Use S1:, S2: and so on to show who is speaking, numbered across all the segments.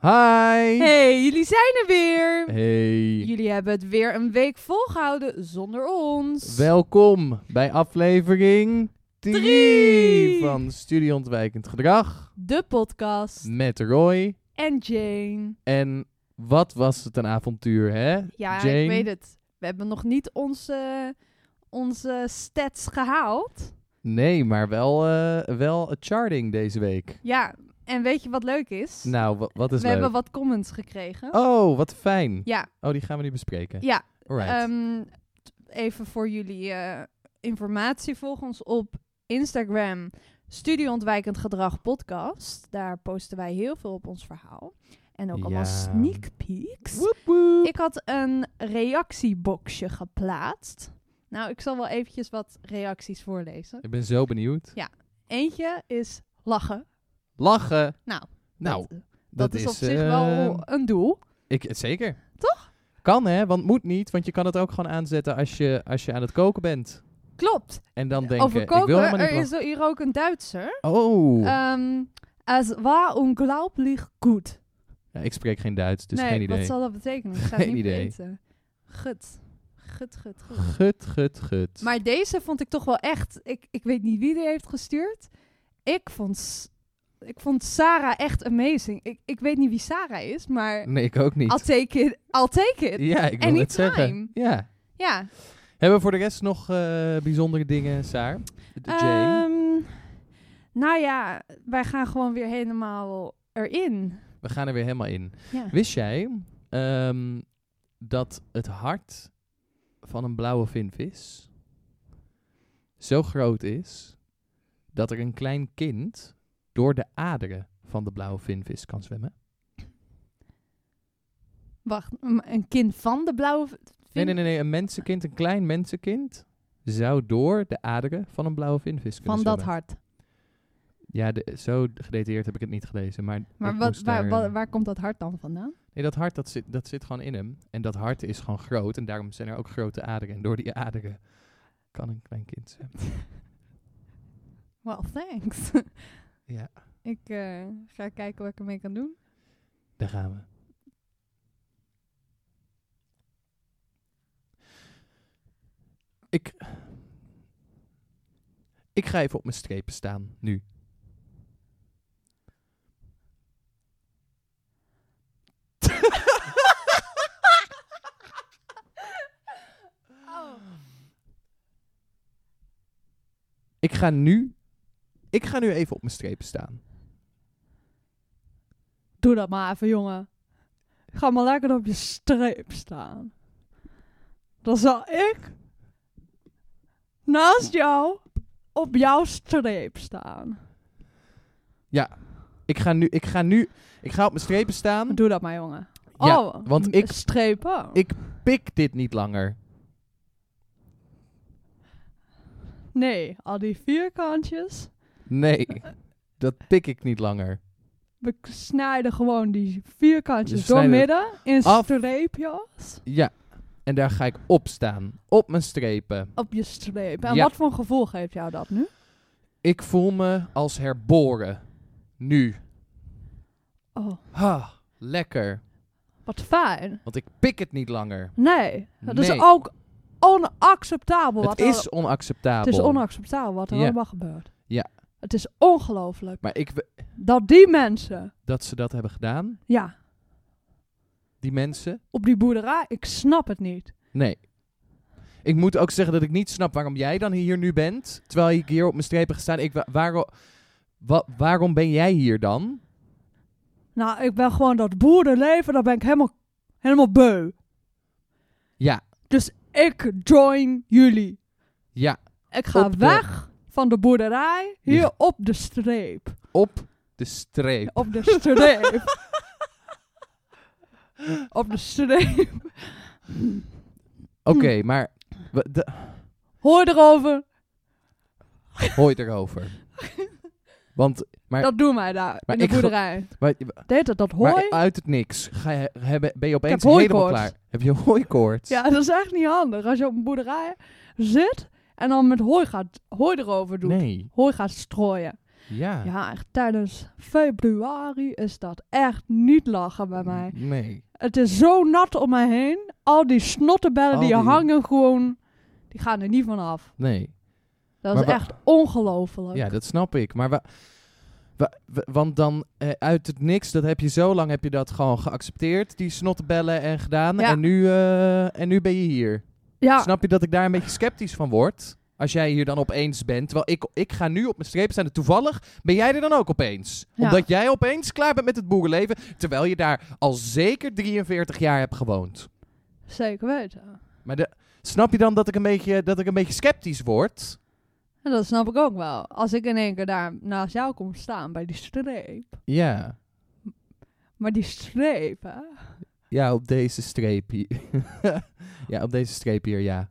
S1: Hi!
S2: Hey, jullie zijn er weer!
S1: Hey.
S2: Jullie hebben het weer een week volgehouden zonder ons.
S1: Welkom bij aflevering 3
S2: Drie.
S1: van Studieontwijkend Gedrag
S2: De podcast.
S1: met Roy.
S2: En Jane.
S1: En wat was het een avontuur, hè?
S2: Ja,
S1: Jane?
S2: ik weet het. We hebben nog niet onze, onze stats gehaald.
S1: Nee, maar wel, eh wel een charting deze week.
S2: Ja, en weet je wat leuk is?
S1: Nou, wa- wat is
S2: We
S1: leuk?
S2: hebben wat comments gekregen.
S1: Oh, wat fijn.
S2: Ja,
S1: Oh, die gaan we niet bespreken.
S2: ja.
S1: Alright.
S2: ehm, t- even voor jullie eh, informatie. Volg ons op Instagram, Studieontwijkend Gedrag Podcast. Daar posten wij heel veel op ons verhaal. En ook allemaal
S1: Ja.
S2: sneak peeks.
S1: Woep woep.
S2: Ik had een reactieboxje geplaatst. Nou, ik zal wel eventjes wat reacties voorlezen.
S1: Ik ben zo benieuwd.
S2: Eentje is lachen.
S1: Lachen.
S2: Nou,
S1: Nou,
S2: dat,
S1: dat,
S2: dat is op zich
S1: eh,
S2: wel een doel.
S1: Ik, eh, zeker. Toch? Kan hè, want moet niet, want je kan het ook gewoon aanzetten als je, als je aan het koken bent.
S2: Klopt.
S1: En dan denk
S2: Over
S1: je, ik wil
S2: koken,
S1: helemaal
S2: er
S1: niet
S2: is er hier ook een Duitser.
S1: lachen. Oh,
S2: Ehm es war unglaublich gut.
S1: ja, ik spreek geen Duits, dus
S2: nee,
S1: geen idee.
S2: wat zal dat betekenen? Ik ga
S1: Geen
S2: het niet
S1: idee.
S2: weten. Gut. Gut, gut, gut.
S1: Gut, gut, gut.
S2: Maar deze vond ik toch wel echt... Ik, ik weet niet wie die heeft gestuurd. Ik vond, S- ik vond Sarah echt amazing. Ik, ik weet niet wie Sarah is, maar...
S1: Nee, ik ook niet.
S2: I'll take it. I'll take it.
S1: ja, ik wil het
S2: Anytime.
S1: zeggen. Ja.
S2: Ja.
S1: Hebben we voor de rest nog eh, bijzondere dingen, Saar? De Jane?
S2: Ehm, nou ja, wij gaan gewoon weer helemaal erin.
S1: We gaan er weer helemaal in.
S2: Ja.
S1: Wist jij ehm, dat het hart van een blauwe vinvis zo groot is dat er een klein kind door de aderen van de blauwe vinvis kan zwemmen?
S2: Wacht, m- een kind van de blauwe... v-
S1: Nee,
S2: vin-
S1: nee, nee, nee, een mensenkind, een klein mensenkind zou door de aderen van een blauwe vinvis kunnen
S2: Van dat
S1: zwemmen.
S2: hart.
S1: Ja, de- zo gedetailleerd heb ik het niet gelezen, maar...
S2: Maar
S1: ik
S2: wat,
S1: moest
S2: waar,
S1: daar,
S2: waar,
S1: eh,
S2: waar komt dat hart dan vandaan?
S1: Nee, dat hart dat zit, dat zit gewoon in hem. En dat hart is gewoon groot. En daarom zijn er ook grote aderen. En door die aderen kan een klein kind zijn.
S2: Well, thanks.
S1: Ja.
S2: Ik eh, ga kijken wat ik ermee kan doen.
S1: Daar gaan we. Ik. Ik ga even op mijn strepen staan nu.
S2: Oh.
S1: Ik ga nu. Ik ga nu even op mijn strepen staan.
S2: Doe dat maar even, jongen. Ga maar lekker op je streep staan. Dan zal ik naast jou op jouw streep staan.
S1: Ik ga nu. Ik ga nu. Ik ga op mijn strepen staan.
S2: Doe dat maar, jongen.
S1: Hm? Ja,
S2: oh,
S1: want
S2: m-
S1: ik-
S2: Strepen.
S1: ik- Pik dit niet langer.
S2: Nee, al die vierkantjes.
S1: Nee, dat pik ik niet langer.
S2: We k- snijden gewoon die
S1: We
S2: vierkantjes door
S1: snijden het
S2: midden in
S1: af.
S2: streepjes.
S1: Ja, en daar ga ik op staan. Op mijn strepen.
S2: Op je streep. En
S1: Ja.
S2: wat voor een gevoel geeft jou dat nu?
S1: Ik voel me als herboren. Nu.
S2: Oh,
S1: Ha, lekker.
S2: wat fijn.
S1: Want ik pik het niet langer.
S2: Nee, dat
S1: Nee.
S2: is ook onacceptabel. Wat
S1: Het
S2: er-
S1: is onacceptabel.
S2: het is onacceptabel wat er
S1: Ja.
S2: allemaal gebeurt.
S1: Ja.
S2: Het is ongelooflijk
S1: Maar ik we-
S2: dat die mensen,
S1: dat ze dat hebben gedaan,
S2: ja,
S1: die mensen.
S2: op die boerderij, ik snap het niet.
S1: Nee. Ik moet ook zeggen dat ik niet snap waarom jij dan hier nu bent. Terwijl ik hier op mijn strepen ga staan. Ik, wa- waarom, wa- waarom ben jij hier dan?
S2: Nou, ik ben gewoon dat boerenleven, daar ben ik helemaal, helemaal beu.
S1: Ja,
S2: Dus ik join jullie.
S1: ja.
S2: Ik ga
S1: Op de-
S2: weg van de boerderij, hier
S1: Ja.
S2: op de streep.
S1: Op de streep.
S2: Op de streep. op de streep.
S1: Oké,
S2: Mm.
S1: maar we- de-
S2: Hoor erover,
S1: hooi erover. Want maar-
S2: dat doen wij daar
S1: maar
S2: in de
S1: ik ge-
S2: boerderij.
S1: maar,
S2: Deed het dat hooi?
S1: maar uit het niks ga je, hebben, ben je opeens
S2: heb
S1: helemaal
S2: hooikoorts.
S1: klaar. Heb je hooikoorts?
S2: Ja, dat is echt niet handig. Als je op een boerderij zit en dan met hooi gaat hooi erover doet.
S1: Nee.
S2: Hooi gaat strooien.
S1: Ja.
S2: Ja, echt tijdens februari is dat echt niet lachen bij mij.
S1: Nee.
S2: Het is zo nat om mij heen. Al die snottenbellen
S1: Al
S2: die,
S1: die-
S2: hangen gewoon, die gaan er niet van af.
S1: Nee.
S2: Dat
S1: Maar
S2: is
S1: wa-
S2: echt ongelooflijk.
S1: Ja, dat snap ik. Maar wa- wa- wa- want dan eh, uit het niks, dat heb je zo lang heb je dat gewoon geaccepteerd, die snottebellen en gedaan.
S2: Ja.
S1: En, nu, eh, en nu ben je hier.
S2: ja,
S1: Snap je dat ik daar een beetje sceptisch van word? Als jij hier dan opeens bent. Terwijl ik, ik ga nu op mijn streep staan. En toevallig ben jij er dan ook opeens.
S2: Ja.
S1: Omdat jij opeens klaar bent met het boerenleven. Terwijl je daar al zeker 43 jaar hebt gewoond.
S2: zeker weten.
S1: Maar de, snap je dan dat ik, een beetje, dat ik een beetje sceptisch word?
S2: En dat snap ik ook wel. Als ik in één keer daar naast jou kom staan bij die streep.
S1: Ja.
S2: Maar die streep, hè?
S1: Ja, op deze streep hier. ja, op deze streep hier, ja.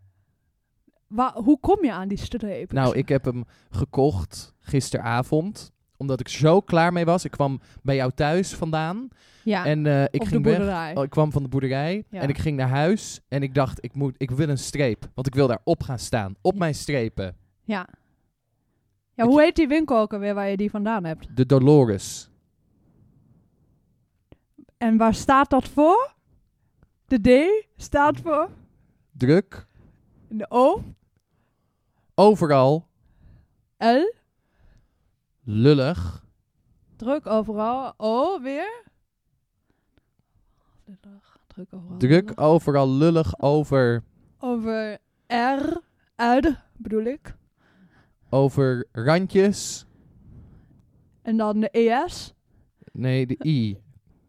S2: Wa- hoe kom je aan die streep?
S1: Nou, ik heb hem gekocht gisteravond. Omdat ik zo klaar mee was. Ik kwam bij jou thuis vandaan.
S2: ja,
S1: En eh, ik
S2: op Ah, de
S1: ging weg.
S2: boerderij.
S1: Oh, ik kwam van de boerderij
S2: Ja.
S1: en ik ging naar huis en ik dacht, ik, moet, ik wil een streep. Want ik wil daarop gaan staan, op
S2: Ja.
S1: mijn strepen.
S2: Ja. Ja, hoe heet die winkel ook alweer waar je die vandaan hebt?
S1: De Dolores.
S2: En waar staat dat voor? De D staat voor?
S1: Druk,
S2: En De O?
S1: overal,
S2: L?
S1: lullig,
S2: Druk overal. O weer? Lullig. Druk overal.
S1: druk,
S2: lullig.
S1: overal, lullig, over,
S2: Over R. Uit bedoel ik.
S1: over randjes.
S2: En dan de E ES.
S1: Nee, de I.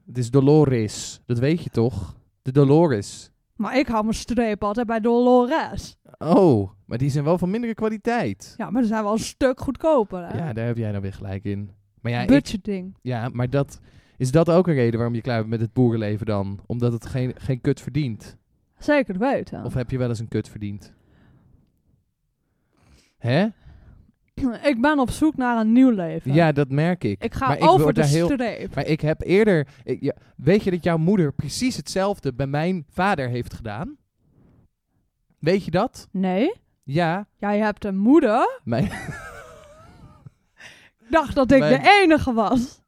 S1: Het is Dolores. Dat weet je toch? De Dolores.
S2: Maar ik hou mijn streep altijd bij Dolores.
S1: Oh, maar die zijn wel van mindere kwaliteit.
S2: Ja, maar ze zijn wel een stuk goedkoper. Hè?
S1: Ja, daar heb jij dan weer gelijk in. Maar ja, ik,
S2: Budgetding.
S1: Ja, maar dat, is dat ook een reden waarom je klaar bent met het boerenleven dan? Omdat het geen, geen kut verdient?
S2: Zeker weten.
S1: Of heb je wel eens een kut verdiend? Hè?
S2: Ik ben op zoek naar een nieuw leven.
S1: Ja, dat merk ik.
S2: Ik ga
S1: maar
S2: over
S1: word
S2: de
S1: daar heel,
S2: streep.
S1: Maar ik heb eerder... ik- ja, weet je dat jouw moeder precies hetzelfde bij mijn vader heeft gedaan? Weet je dat?
S2: Nee,
S1: Ja.
S2: jij hebt een moeder.
S1: Mijn,
S2: Ik dacht dat ik
S1: Mijn-
S2: de enige was.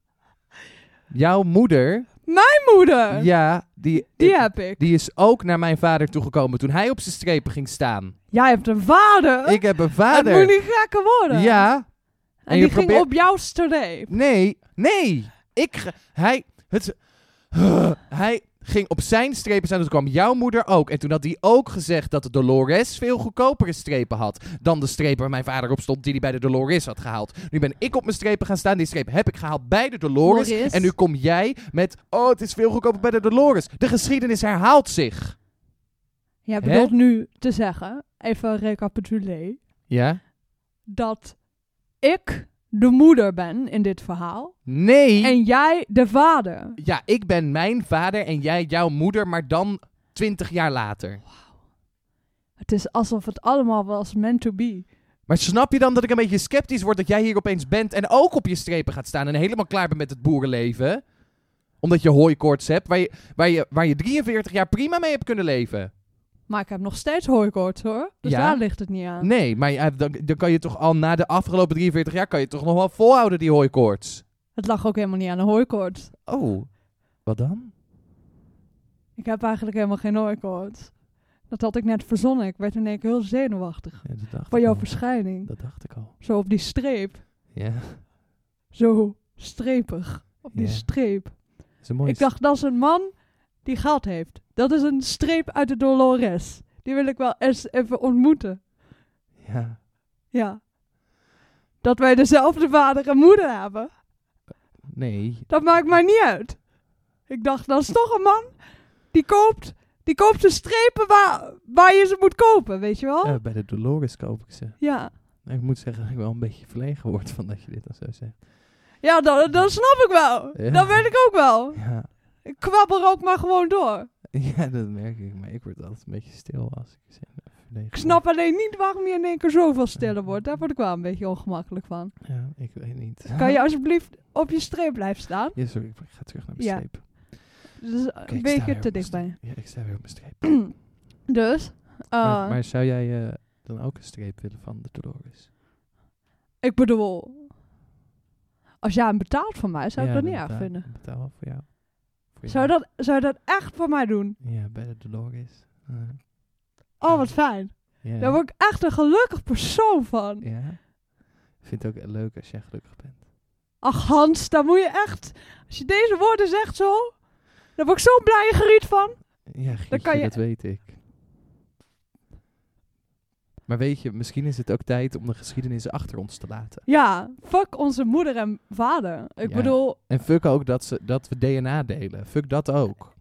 S1: jouw moeder...
S2: Mijn moeder,
S1: Ja, die,
S2: die
S1: ik-
S2: heb ik.
S1: die is ook naar mijn vader toegekomen toen hij op zijn strepen ging staan.
S2: Jij hebt een vader.
S1: Ik heb een
S2: Het moet
S1: vader.
S2: niet gekker worden.
S1: Ja,
S2: en,
S1: en je
S2: die ging
S1: probeert-
S2: op jouw streep.
S1: Nee, nee. Ik, ge- hij, het, hij ging op zijn strepen staan. Toen kwam jouw moeder ook. En toen had hij ook gezegd dat de Dolores veel goedkopere strepen had. Dan de strepen waar mijn vader op stond, die hij bij de Dolores had gehaald. Nu ben ik op mijn strepen gaan staan. Die streep heb ik gehaald bij de Dolores.
S2: Dolores.
S1: En nu kom jij met, oh, het is veel goedkoper bij de Dolores. De geschiedenis herhaalt zich.
S2: Jij
S1: Hè?
S2: bedoelt nu te zeggen, even recapitulé,
S1: Ja?
S2: dat ik de moeder ben in dit verhaal.
S1: Nee.
S2: En jij de vader.
S1: Ja, ik ben mijn vader en jij jouw moeder, maar dan twintig jaar later.
S2: Het is alsof het allemaal was meant to be.
S1: Maar snap je dan dat ik een beetje sceptisch word dat jij hier opeens bent en ook op je strepen gaat staan en helemaal klaar bent met het boerenleven? Omdat je hooikoorts hebt, waar je, waar je, waar je 43 jaar prima mee hebt kunnen leven.
S2: Maar ik heb nog steeds hooikoorts hoor. Dus
S1: Ja?
S2: daar ligt het niet aan.
S1: Nee, maar ja, dan, dan kan je toch al na de afgelopen 43 jaar, kan je toch nog wel volhouden die hooikoorts?
S2: Het lag ook helemaal niet aan de hooikoorts.
S1: Oh, wat dan?
S2: Ik heb eigenlijk helemaal geen hooikoorts. Dat had ik net verzonnen. Ik werd in één keer heel zenuwachtig.
S1: Ja, dat dacht
S2: Van
S1: ik
S2: jouw
S1: al.
S2: verschijning.
S1: Dat dacht ik al.
S2: Zo op die streep.
S1: Ja,
S2: Zo strepig. Op die
S1: Ja.
S2: streep.
S1: dat is een mooie
S2: Ik dacht, dat is een man die geld heeft. Dat is een streep uit de Dolores. Die wil ik wel eens even ontmoeten.
S1: s- Ja.
S2: Ja. Dat wij dezelfde vader en moeder hebben.
S1: Nee.
S2: Dat maakt mij niet uit. Ik dacht, dat is toch een man die koopt, die koopt de strepen waar, waar je ze moet kopen, weet je wel?
S1: Eh, bij de Dolores koop ik ze.
S2: ja.
S1: Ik moet zeggen dat ik wel een beetje verlegen word van dat je dit dan zo zegt.
S2: Ja, dat, dat snap ik wel.
S1: Ja.
S2: Dat weet ik ook wel.
S1: Ja.
S2: Ik kwabbel ook maar gewoon door.
S1: Ja, dat merk ik. Maar ik word altijd een beetje stil als ik zin heb.
S2: Ik snap alleen niet waarom je in één keer zoveel stiller wordt. Daar word ik wel een beetje ongemakkelijk van.
S1: Ja, ik weet niet.
S2: Kan je alsjeblieft op je streep blijven staan?
S1: Ja, sorry, ik ga terug naar mijn
S2: Ja.
S1: streep.
S2: Dus is
S1: Oké,
S2: een
S1: ik sta weer
S2: beetje
S1: op
S2: te
S1: mijn
S2: dichtbij.
S1: streep. Ja, ik sta weer op mijn streep.
S2: Dus, eh,
S1: Maar, maar zou jij eh, dan ook een streep willen van de Dolores?
S2: ik bedoel, Als jij hem betaalt van mij, zou ik dat niet erg vinden.
S1: Betaal wel voor jou. Voor
S2: Zou
S1: jou.
S2: dat, zou je dat echt voor mij doen?
S1: Ja, better the dog is. Ja.
S2: Oh, wat fijn.
S1: Eh, Ja.
S2: Daar word ik echt een gelukkig persoon van.
S1: Ja. Ik vind het ook leuk als jij gelukkig bent.
S2: Ach Hans, daar moet je echt... Als je deze woorden zegt zo... Daar word ik zo blij en geriet van.
S1: Ja, Gietje,
S2: kan je-
S1: dat weet ik. Maar weet je, misschien is het ook tijd om de geschiedenis achter ons te laten.
S2: Ja, fuck onze moeder en vader. Ik
S1: Ja.
S2: bedoel...
S1: En fuck ook dat, ze, dat we DNA delen. Fuck dat ook.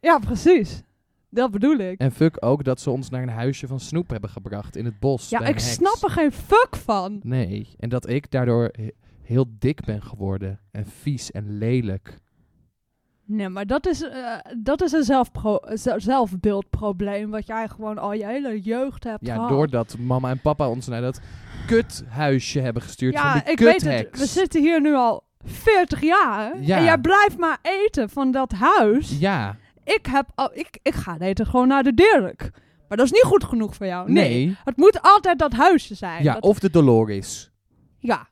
S2: Ja, precies. Dat bedoel ik.
S1: En fuck ook dat ze ons naar een huisje van snoep hebben gebracht in het bos. dus
S2: Ja,
S1: bij een
S2: ik
S1: heks.
S2: snap er geen fuck van.
S1: Nee, en dat ik daardoor he- heel dik ben geworden. En vies en lelijk.
S2: Nee, maar dat is, eh, dat is een zelfpro- ze- zelfbeeldprobleem. Wat jij gewoon al je hele jeugd hebt
S1: Ja,
S2: gehad.
S1: doordat mama en papa ons naar dat kuthuisje hebben gestuurd van
S2: Ja,
S1: die
S2: ik weet het.
S1: kutheks.
S2: We zitten hier nu al 40 jaar.
S1: Ja.
S2: En jij blijft maar eten van dat huis.
S1: Ja,
S2: Ik, heb al, ik, ik ga eten gewoon naar de Dirk. Maar dat is niet goed genoeg voor jou. Oh, Nee.
S1: nee.
S2: Het moet altijd dat huisje zijn.
S1: Ja,
S2: Dat-
S1: of de Dolores.
S2: ja.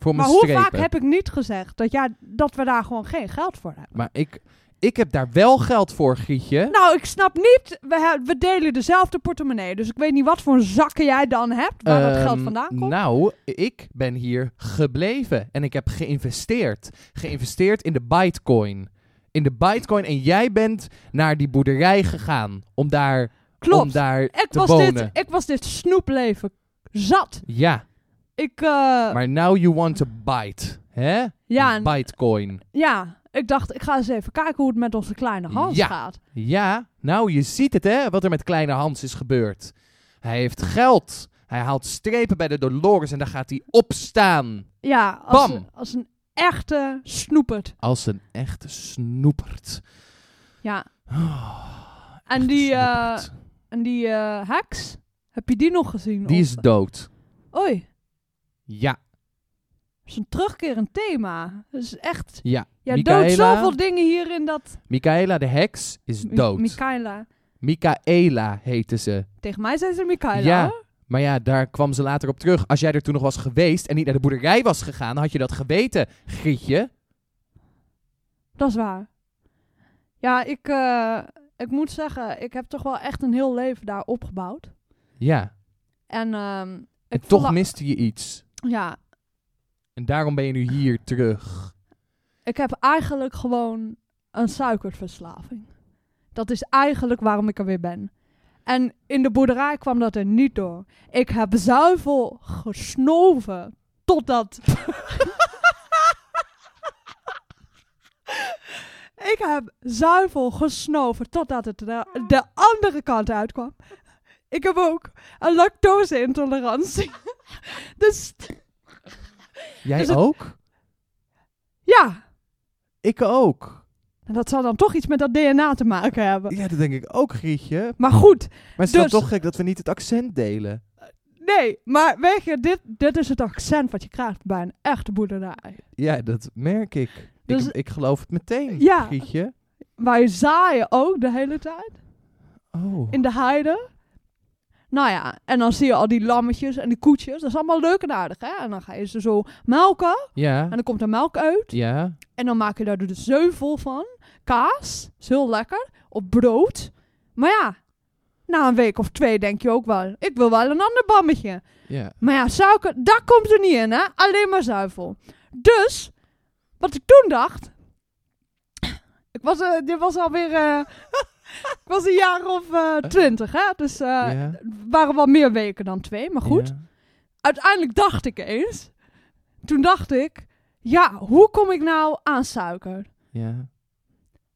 S1: Voor
S2: Maar
S1: mijn
S2: hoe
S1: strepen.
S2: vaak heb ik niet gezegd dat, ja, dat we daar gewoon geen geld voor hebben?
S1: Maar ik, ik heb daar wel geld voor, Gietje.
S2: Nou, ik snap niet. We, he- we delen dezelfde portemonnee. Dus ik weet niet wat voor zakken jij dan hebt. Waar dat geld
S1: Ehm,
S2: vandaan komt.
S1: Nou, ik ben hier gebleven. En ik heb geïnvesteerd. Geïnvesteerd in de Bitcoin. In de Bitcoin. En jij bent naar die boerderij gegaan. Om daar, om
S2: Klopt.
S1: daar
S2: Ik
S1: te
S2: was,
S1: wonen.
S2: dit, ik was dit snoepleven zat.
S1: Ja,
S2: Ik, eh,
S1: maar now you want to bite. Hè?
S2: ja, en-
S1: Bitcoin.
S2: ja, ik dacht, ik ga eens even kijken hoe het met onze kleine Hans
S1: Ja.
S2: gaat.
S1: Ja, nou je ziet het hè, wat er met kleine Hans is gebeurd. Hij heeft geld. Hij haalt strepen bij de Dolores en daar gaat hij opstaan.
S2: Ja, als,
S1: Bam.
S2: Een, als een echte snoepert.
S1: Als een echte snoepert.
S2: Ja.
S1: Oh,
S2: En
S1: echt
S2: die, eh,
S1: snoepert.
S2: en die eh, heks, heb je die nog gezien?
S1: die
S2: Of-
S1: is dood.
S2: Oei,
S1: Ja,
S2: dat is een terugkerend thema. Dat is echt...
S1: ja.
S2: Jij doodt
S1: Michaela-
S2: zoveel dingen hier in dat...
S1: Michaela de heks is
S2: Mi-
S1: dood.
S2: Michaela.
S1: Michaela heette ze.
S2: Tegen mij zei ze Michaela.
S1: Ja.
S2: hoor.
S1: Maar ja, daar kwam ze later op terug. Als jij er toen nog was geweest en niet naar de boerderij was gegaan, had je dat geweten, Grietje.
S2: Dat is waar. Ja, ik, eh, ik moet zeggen, ik heb toch wel echt een heel leven daar opgebouwd.
S1: Ja,
S2: En, ehm,
S1: en
S2: ik
S1: toch
S2: voel-
S1: miste je iets.
S2: Ja,
S1: En daarom ben je nu hier terug.
S2: ik heb eigenlijk gewoon een suikerverslaving. Dat is eigenlijk waarom ik er weer ben. En in de boerderij kwam dat er niet door. Ik heb zuivel gesnoven totdat... ik heb zuivel gesnoven totdat het de, de andere kant uitkwam. Ik heb ook een lactose-intolerantie. dus
S1: Jij
S2: Dus het-
S1: ook?
S2: ja,
S1: Ik ook.
S2: En dat zal dan toch iets met dat DNA te maken hebben.
S1: Ja, dat denk ik ook, Grietje.
S2: Maar goed,
S1: Maar het is dan
S2: Dus-
S1: toch gek dat we niet het accent delen.
S2: nee, maar weet je, dit, dit is het accent wat je krijgt bij een echte boerderij.
S1: Ja, dat merk ik.
S2: Dus-
S1: ik, ik geloof het meteen,
S2: Ja.
S1: Grietje.
S2: Wij zaaien ook de hele tijd
S1: Oh.
S2: in de heide. Nou ja, en dan zie je al die lammetjes en die koetjes. Dat is allemaal leuk en aardig, hè? En dan ga je ze zo melken
S1: Oh. Ja,
S2: en dan komt er melk uit.
S1: ja.
S2: En dan maak je daar de zeuvel van. Kaas, is heel lekker. Op brood. Maar ja, na een week of twee denk je ook wel, ik wil wel een ander bammetje.
S1: ja.
S2: Maar ja, suiker, dat komt er niet in, hè? Alleen maar zuivel. Dus, wat ik toen dacht. Ik was, eh, dit was alweer. eh ik was een jaar of twintig, hè? Dus eh,
S1: ja.
S2: het waren wel meer weken dan twee, maar goed.
S1: Ja.
S2: Uiteindelijk dacht ik eens. Toen dacht ik, ja, hoe kom ik nou aan suiker?
S1: ja.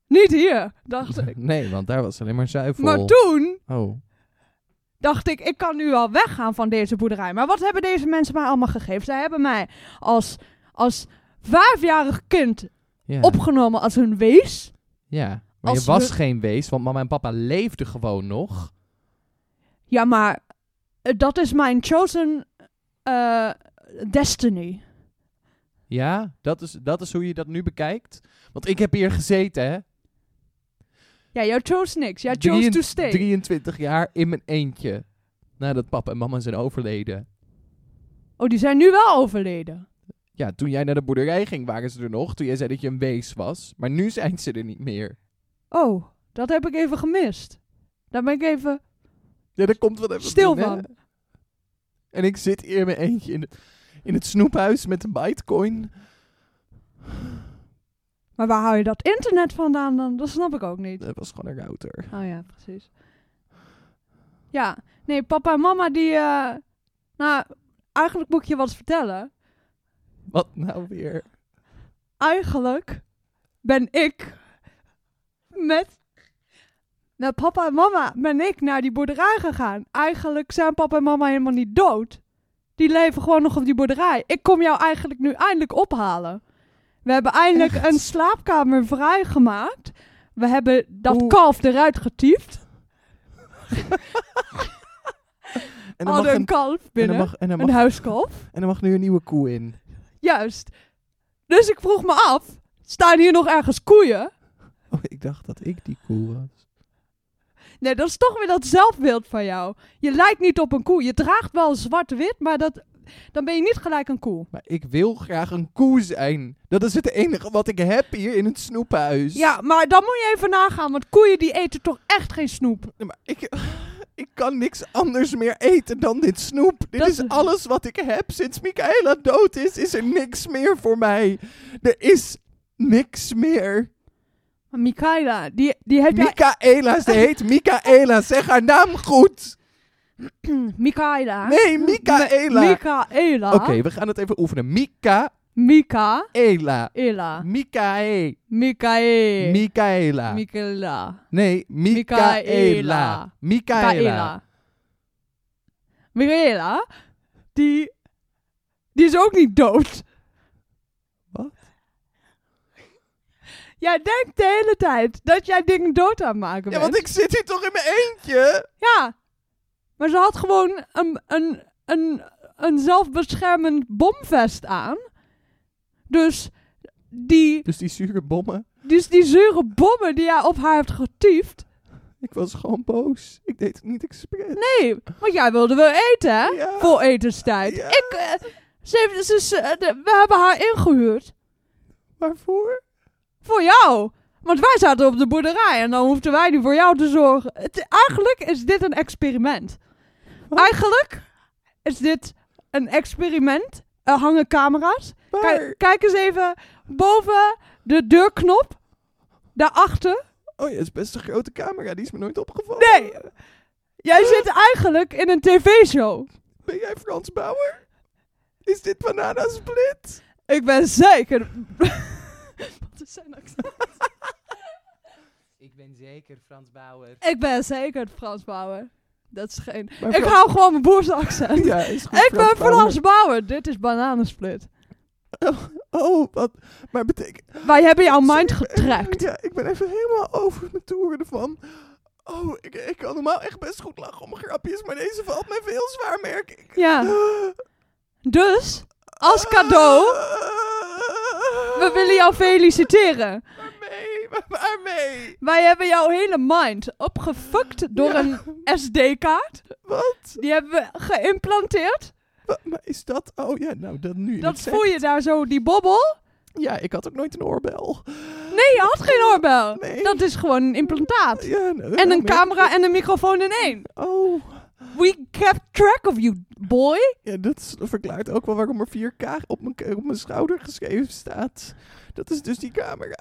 S2: Niet hier, dacht ik.
S1: Nee, want daar was alleen maar zuivel.
S2: Maar toen
S1: Oh.
S2: dacht ik, ik kan nu al weggaan van deze boerderij. Maar wat hebben deze mensen mij allemaal gegeven? Zij hebben mij als, als vijfjarig kind
S1: Ja.
S2: opgenomen als hun wees.
S1: ja. Maar
S2: Als
S1: je was
S2: we-
S1: geen wees, want mama en papa leefden gewoon nog.
S2: Ja, maar eh, dat is mijn chosen eh, destiny.
S1: Ja, dat is, dat is hoe je dat nu bekijkt. Want ik heb hier gezeten, hè.
S2: Ja, jou chose niks. Jij chose to
S1: Drieën-
S2: stay.
S1: 23 jaar in mijn eentje. Nadat papa en mama zijn overleden.
S2: Oh, die zijn nu wel overleden.
S1: Ja, toen jij naar de boerderij ging, waren ze er nog. Toen jij zei dat je een wees was. Maar nu zijn ze er niet meer.
S2: Oh, dat heb ik even gemist. Daar ben ik even
S1: Ja, daar komt wat even
S2: stil
S1: binnen.
S2: van.
S1: En ik zit hier in mijn eentje in, in het snoephuis met de Bitcoin.
S2: Maar waar hou je dat internet vandaan dan? Dat snap ik ook niet.
S1: Dat was gewoon een router.
S2: Oh ja, precies. Ja, nee, papa en mama die... eh, nou, eigenlijk moet ik je wat vertellen.
S1: Wat nou weer?
S2: Eigenlijk ben ik met... Met papa en mama ben ik naar die boerderij gegaan. Eigenlijk zijn papa en mama helemaal niet dood. Die leven gewoon nog op die boerderij. Ik kom jou eigenlijk nu eindelijk ophalen. We hebben eindelijk
S1: Echt?
S2: een slaapkamer vrijgemaakt. We hebben dat
S1: Hoe-
S2: kalf eruit getiefd.
S1: En dan, mag
S2: hadden Oh, een
S1: een,
S2: kalf
S1: en, dan
S2: binnen.
S1: mag, en, dan
S2: Een
S1: mag,
S2: huiskalf.
S1: en dan mag nu een nieuwe koe in.
S2: Juist. Dus ik vroeg me af, staan hier nog ergens koeien?
S1: Oh, ik dacht dat ik die koe was.
S2: Nee, dat is toch weer dat zelfbeeld van jou. Je lijkt niet op een koe. Je draagt wel zwart-wit, maar dat, dan ben je niet gelijk een koe.
S1: Maar ik wil graag een koe zijn. Dat is het enige wat ik heb hier in het snoephuis.
S2: Ja, maar dan moet je even nagaan, want koeien die eten toch echt geen snoep.
S1: Nee, Maar ik, ik kan niks anders meer eten dan dit snoep. Dit
S2: Dat
S1: is
S2: is-
S1: alles wat ik heb. Sinds Michaela dood is, is er niks meer voor mij. Er is niks meer.
S2: Maar Michaela, die, die heb jij...
S1: Michaela, ze heet Michaela. Zeg haar naam goed.
S2: Michaela.
S1: Nee, Michaela.
S2: Michaela.
S1: Oké, we gaan het even oefenen. Michaela.
S2: Mika. Ela.
S1: Michae.
S2: Michaela.
S1: Michaela.
S2: Michaela.
S1: Nee, Michaela.
S2: Michaela.
S1: Michaela.
S2: Michaela. Michaela, die, die is ook niet dood.
S1: Wat?
S2: Jij denkt de hele tijd dat jij dingen dood aan het maken
S1: Ja,
S2: bent.
S1: want ik zit hier toch in mijn eentje.
S2: Ja, maar ze had gewoon een, een, een, een zelfbeschermend bomvest aan. Dus die,
S1: Dus die zure bommen.
S2: dus die zure bommen die jij op haar hebt getiefd.
S1: Ik was gewoon boos. Ik deed het niet expres.
S2: Nee, want jij wilde wel eten, hè?
S1: Ja.
S2: Nou, Voor etenstijd.
S1: Ja.
S2: Ik, eh, ze, heeft- ze, ze- eh, de- we hebben haar ingehuurd.
S1: Waarvoor?
S2: Voor jou. Want wij zaten op de boerderij en dan hoefden wij nu voor jou te zorgen. Het, eigenlijk is dit een experiment.
S1: Wat?
S2: Eigenlijk is dit een experiment. Er hangen camera's.
S1: Waar?
S2: Kijk, kijk eens even boven de deurknop. Daarachter.
S1: Oh ja, het is best een grote camera. Die is me nooit opgevallen.
S2: Nee. Jij zit eigenlijk in een tv-show.
S1: Ben jij Frans Bauer? Is dit Banana Split?
S2: Ik ben zeker... Wat is nou? zijn accent?
S3: Ik ben zeker Frans Bauer.
S2: Ik ben zeker Frans Bauer. Dat is geen...
S1: Maar
S2: Ik
S1: Frans-
S2: hou gewoon mijn boersaccent.
S1: Ja, is goed,
S2: Ik ben
S1: Bauer.
S2: Frans Bauer. Dit is Bananensplit.
S1: Oh, wat? Maar betekent...
S2: Wij hebben jouw mind
S1: Sorry, ik ben-
S2: getrackt.
S1: Ja, ik ben even helemaal over mijn toeren ervan. Oh, ik, ik kan normaal echt best goed lachen om grapjes, maar deze valt mij veel zwaar, merk ik. Ah.
S2: Ja. Dus, als cadeau, we willen jou feliciteren.
S1: Waarmee? Waar- Waarmee?
S2: Wij hebben jouw hele mind opgefukt door
S1: Ja.
S2: een SD-kaart.
S1: Wat?
S2: Die hebben we geïmplanteerd.
S1: Wa- Maar is dat... Oh ja, nou, dat nu. je
S2: Dat
S1: het zegt.
S2: voel je daar zo, die bobbel.
S1: Ja, ik had ook nooit een oorbel.
S2: Nee, je had geen oorbel.
S1: Nee.
S2: Dat is gewoon een implantaat.
S1: Ja, nou,
S2: En
S1: daarom
S2: een
S1: heb ik-
S2: camera en een microfoon in één.
S1: Oh,
S2: We kept track of you, boy.
S1: ja, dat is- verklaart ook wel waarom er 4K op mijn, ke- op mijn schouder geschreven staat. Dat is dus die camera.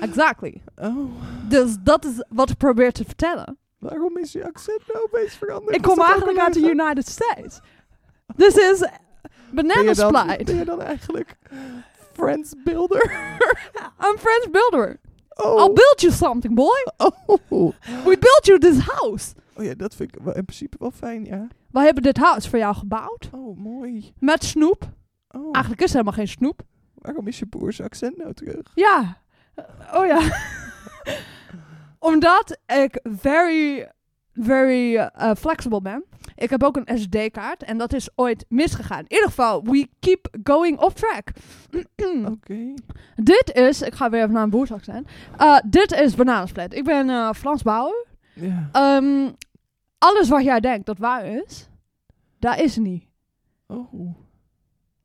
S2: Exactly.
S1: Oh,
S2: Dus dat is wat ik probeer te vertellen.
S1: waarom is je accent nou opeens veranderd?
S2: Ik
S1: Is
S2: kom
S1: dat ook
S2: eigenlijk
S1: een
S2: uit de
S1: leugen?
S2: United States. This is
S1: Ben
S2: banana
S1: je dan, ben
S2: split.
S1: je dan eigenlijk Friends Builder?
S2: I'm French builder.
S1: Oh,
S2: I'll build you something, boy.
S1: oh.
S2: We built you this house.
S1: oh ja, dat vind ik wel- in principe wel fijn, ja.
S2: We hebben dit huis voor jou gebouwd.
S1: Oh, mooi.
S2: Met snoep.
S1: Oh,
S2: Eigenlijk is er helemaal geen snoep.
S1: waarom is je boers accent nou terug?
S2: Ja. Oh ja. Omdat ik very, very eh, flexible ben. Ik heb ook een SD-kaart en dat is ooit misgegaan. In ieder geval, we keep going off track.
S1: Oké.
S2: Dit is, ik ga weer even naar een boerzak zijn. Eh, dit is Bananensplit. Ik ben eh Frans Bauer.
S1: Ja.
S2: Ehm, alles wat jij denkt dat waar is, dat is niet.
S1: Oh.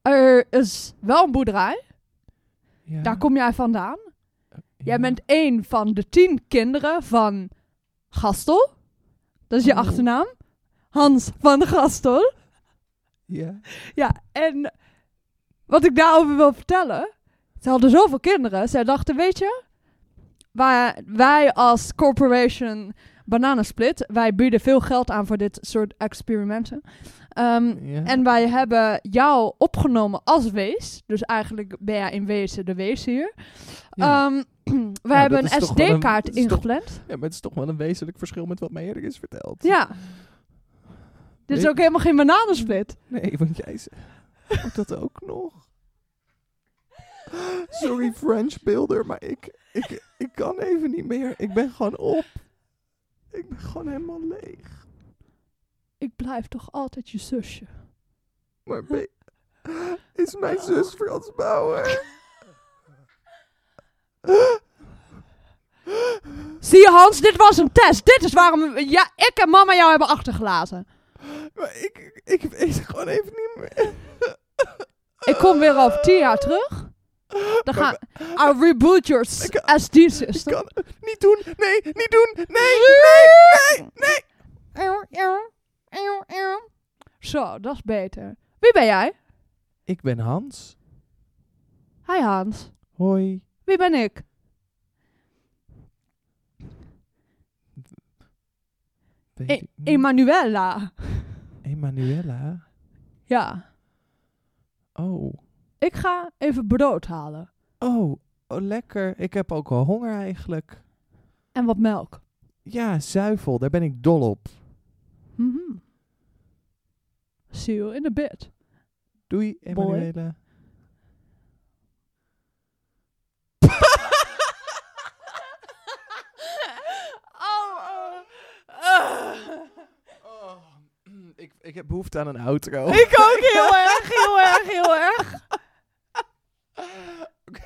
S2: er is wel een boerderij.
S1: Ja.
S2: Daar kom jij vandaan. Jij
S1: Ja.
S2: bent één van de tien kinderen van Gastel. Dat is je
S1: Oh.
S2: achternaam. Hans van Gastel.
S1: Ja.
S2: Ja, en wat ik daarover wil vertellen. Ze hadden zoveel kinderen. Zij dachten, weet je, wij, wij als corporation Bananensplit, wij bieden veel geld aan voor dit soort experimenten. Ehm,
S1: Ja.
S2: en wij hebben jou opgenomen als wees. Dus eigenlijk ben jij in wezen de wees hier.
S1: Ja.
S2: Ehm, wij
S1: dat
S2: hebben
S1: is
S2: een
S1: toch wel een-
S2: SD-kaart
S1: dat is toch-
S2: ingepland.
S1: ja, maar het is toch wel een wezenlijk verschil met wat mij eerder is verteld.
S2: Ja. Dit is
S1: Ik-
S2: ook helemaal geen bananensplit.
S1: Nee, want jij zegt oh, dat ook nog. Sorry French builder, maar ik, ik, ik kan even niet meer. Ik ben gewoon op. Ik ben gewoon helemaal leeg.
S2: Ik blijf toch altijd je zusje.
S1: Maar ben- is mijn zus Frans Bauer?
S2: Zie je Hans, dit was een test. Dit is waarom ja, ik en mama jou hebben achtergelaten.
S1: Maar ik, ik weet het gewoon even niet meer.
S2: Ik kom weer over tien jaar terug. Dan gaan I reboot your s-
S1: Ik-
S2: SD
S1: Ik
S2: system.
S1: kan niet doen. Nee, niet doen. Nee, nee, nee, nee.
S2: Zo, dat is beter. Wie ben jij?
S1: Ik ben Hans.
S2: Hi Hans.
S1: Hoi.
S2: Wie ben ik?
S1: Weet
S2: E-
S1: ik niet.
S2: Emanuela.
S1: Emanuela.
S2: Ja,
S1: Oh.
S2: ik ga even brood halen.
S1: Oh, oh, lekker. Ik heb ook wel honger eigenlijk.
S2: En wat melk.
S1: Ja, zuivel, daar ben ik dol op.
S2: Mhm. See you in a bit.
S1: Doei,
S2: Boy.
S1: Emanuela.
S2: oh, oh.
S1: Oh, ik, ik heb behoefte aan een outro.
S2: Ik ook heel erg, heel erg, heel erg.
S1: Ah,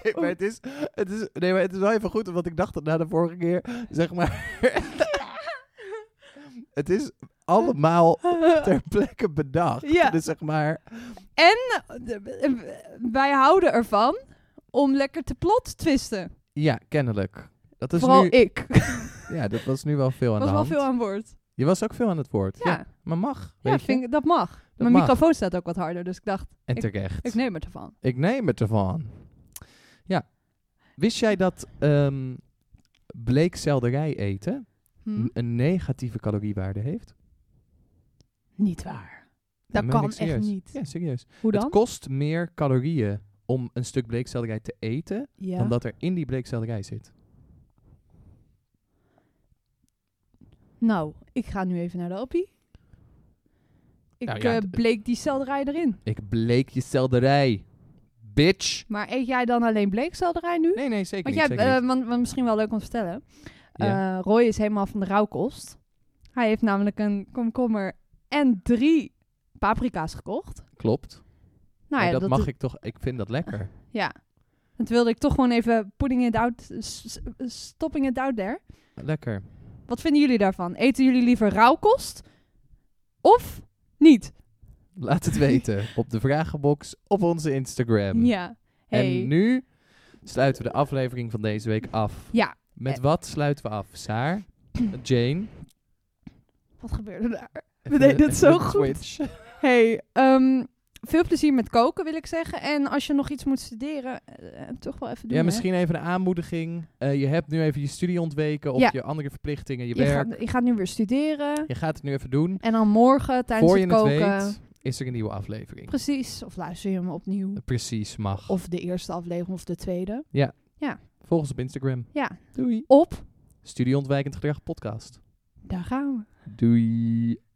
S1: Oké, maar het is, het is... Nee, maar het is wel even goed, want ik dacht dat na de vorige keer, zeg maar... het is allemaal ter plekke bedacht.
S2: Ja.
S1: Dus zeg maar...
S2: Wij houden ervan om lekker te plot twisten.
S1: Ja, kennelijk. Dat is
S2: Vooral
S1: nu...
S2: ik.
S1: Ja, dat was nu wel veel aan
S2: was
S1: de
S2: wel
S1: hand.
S2: veel aan woord.
S1: Je was ook veel aan het woord.
S2: Ja,
S1: Ja,
S2: ja,
S1: maar mag. weet je?
S2: vind ik- dat mag. Mijn
S1: mag.
S2: microfoon staat ook wat harder, dus ik dacht,
S1: En terecht.
S2: ik neem het ervan.
S1: Ik neem het ervan. Ja. Wist jij dat ehm bleekselderij eten
S2: Hm?
S1: n- een negatieve caloriewaarde heeft?
S2: Niet waar. Dat
S1: meen
S2: kan
S1: ik
S2: echt
S1: serieus.
S2: niet.
S1: Ja, serieus.
S2: Hoe
S1: Het
S2: dan?
S1: kost meer calorieën om een stuk bleekselderij te eten
S2: Ja.
S1: dan dat er in die bleekselderij zit.
S2: Nou, ik ga nu even naar de appie. Ik
S1: Nou ja,
S2: eh,
S1: d-
S2: bleek die selderij erin.
S1: Ik bleek je selderij. Bitch.
S2: Maar eet jij dan alleen bleekselderij nu?
S1: Nee, nee, zeker niet.
S2: want, jij,
S1: zeker
S2: eh,
S1: niet.
S2: want, want misschien wel leuk om te vertellen.
S1: Ja.
S2: Eh, Roy is helemaal van de rauwkost. Hij heeft namelijk een komkommer en drie paprika's gekocht.
S1: Klopt.
S2: eh, Nou
S1: Maar
S2: ja,
S1: dat, mag
S2: is-
S1: ik toch... Ik vind dat lekker.
S2: Ja. Dat wilde ik toch gewoon even putting it out, s- s- stopping it out there.
S1: Lekker.
S2: Wat vinden jullie daarvan? Eten jullie liever rauwkost of niet?
S1: Laat het weten op de vragenbox op onze Instagram.
S2: ja. Hey.
S1: Ehm, En nu sluiten we de aflevering van deze week af.
S2: Ja.
S1: Met wat sluiten we af? Saar? Jane?
S2: Wat gebeurde daar?
S1: Even
S2: deden
S1: een-
S2: het
S1: even
S2: zo
S1: een
S2: goed.
S1: twitch.
S2: Hey, ehm, veel plezier met koken wil ik zeggen. En als je nog iets moet studeren, eh, toch wel even doen.
S1: Ja,
S2: hè?
S1: misschien even een aanmoediging. Eh, je hebt nu even je studie ontweken of
S2: Ja.
S1: je andere verplichtingen, je,
S2: Je
S1: werk.
S2: gaat, je gaat nu weer studeren.
S1: Je gaat het nu even doen.
S2: En dan morgen tijdens
S1: Voor je
S2: het
S1: het
S2: koken.
S1: weet, is er een nieuwe aflevering.
S2: Precies. Of luister je hem opnieuw.
S1: Precies, mag.
S2: Of de eerste aflevering of de tweede.
S1: Volg ons op Instagram.
S2: Ja.
S1: Doei.
S2: Op.
S1: Studieontwijkend gedrag podcast.
S2: Daar gaan we.
S1: Doei.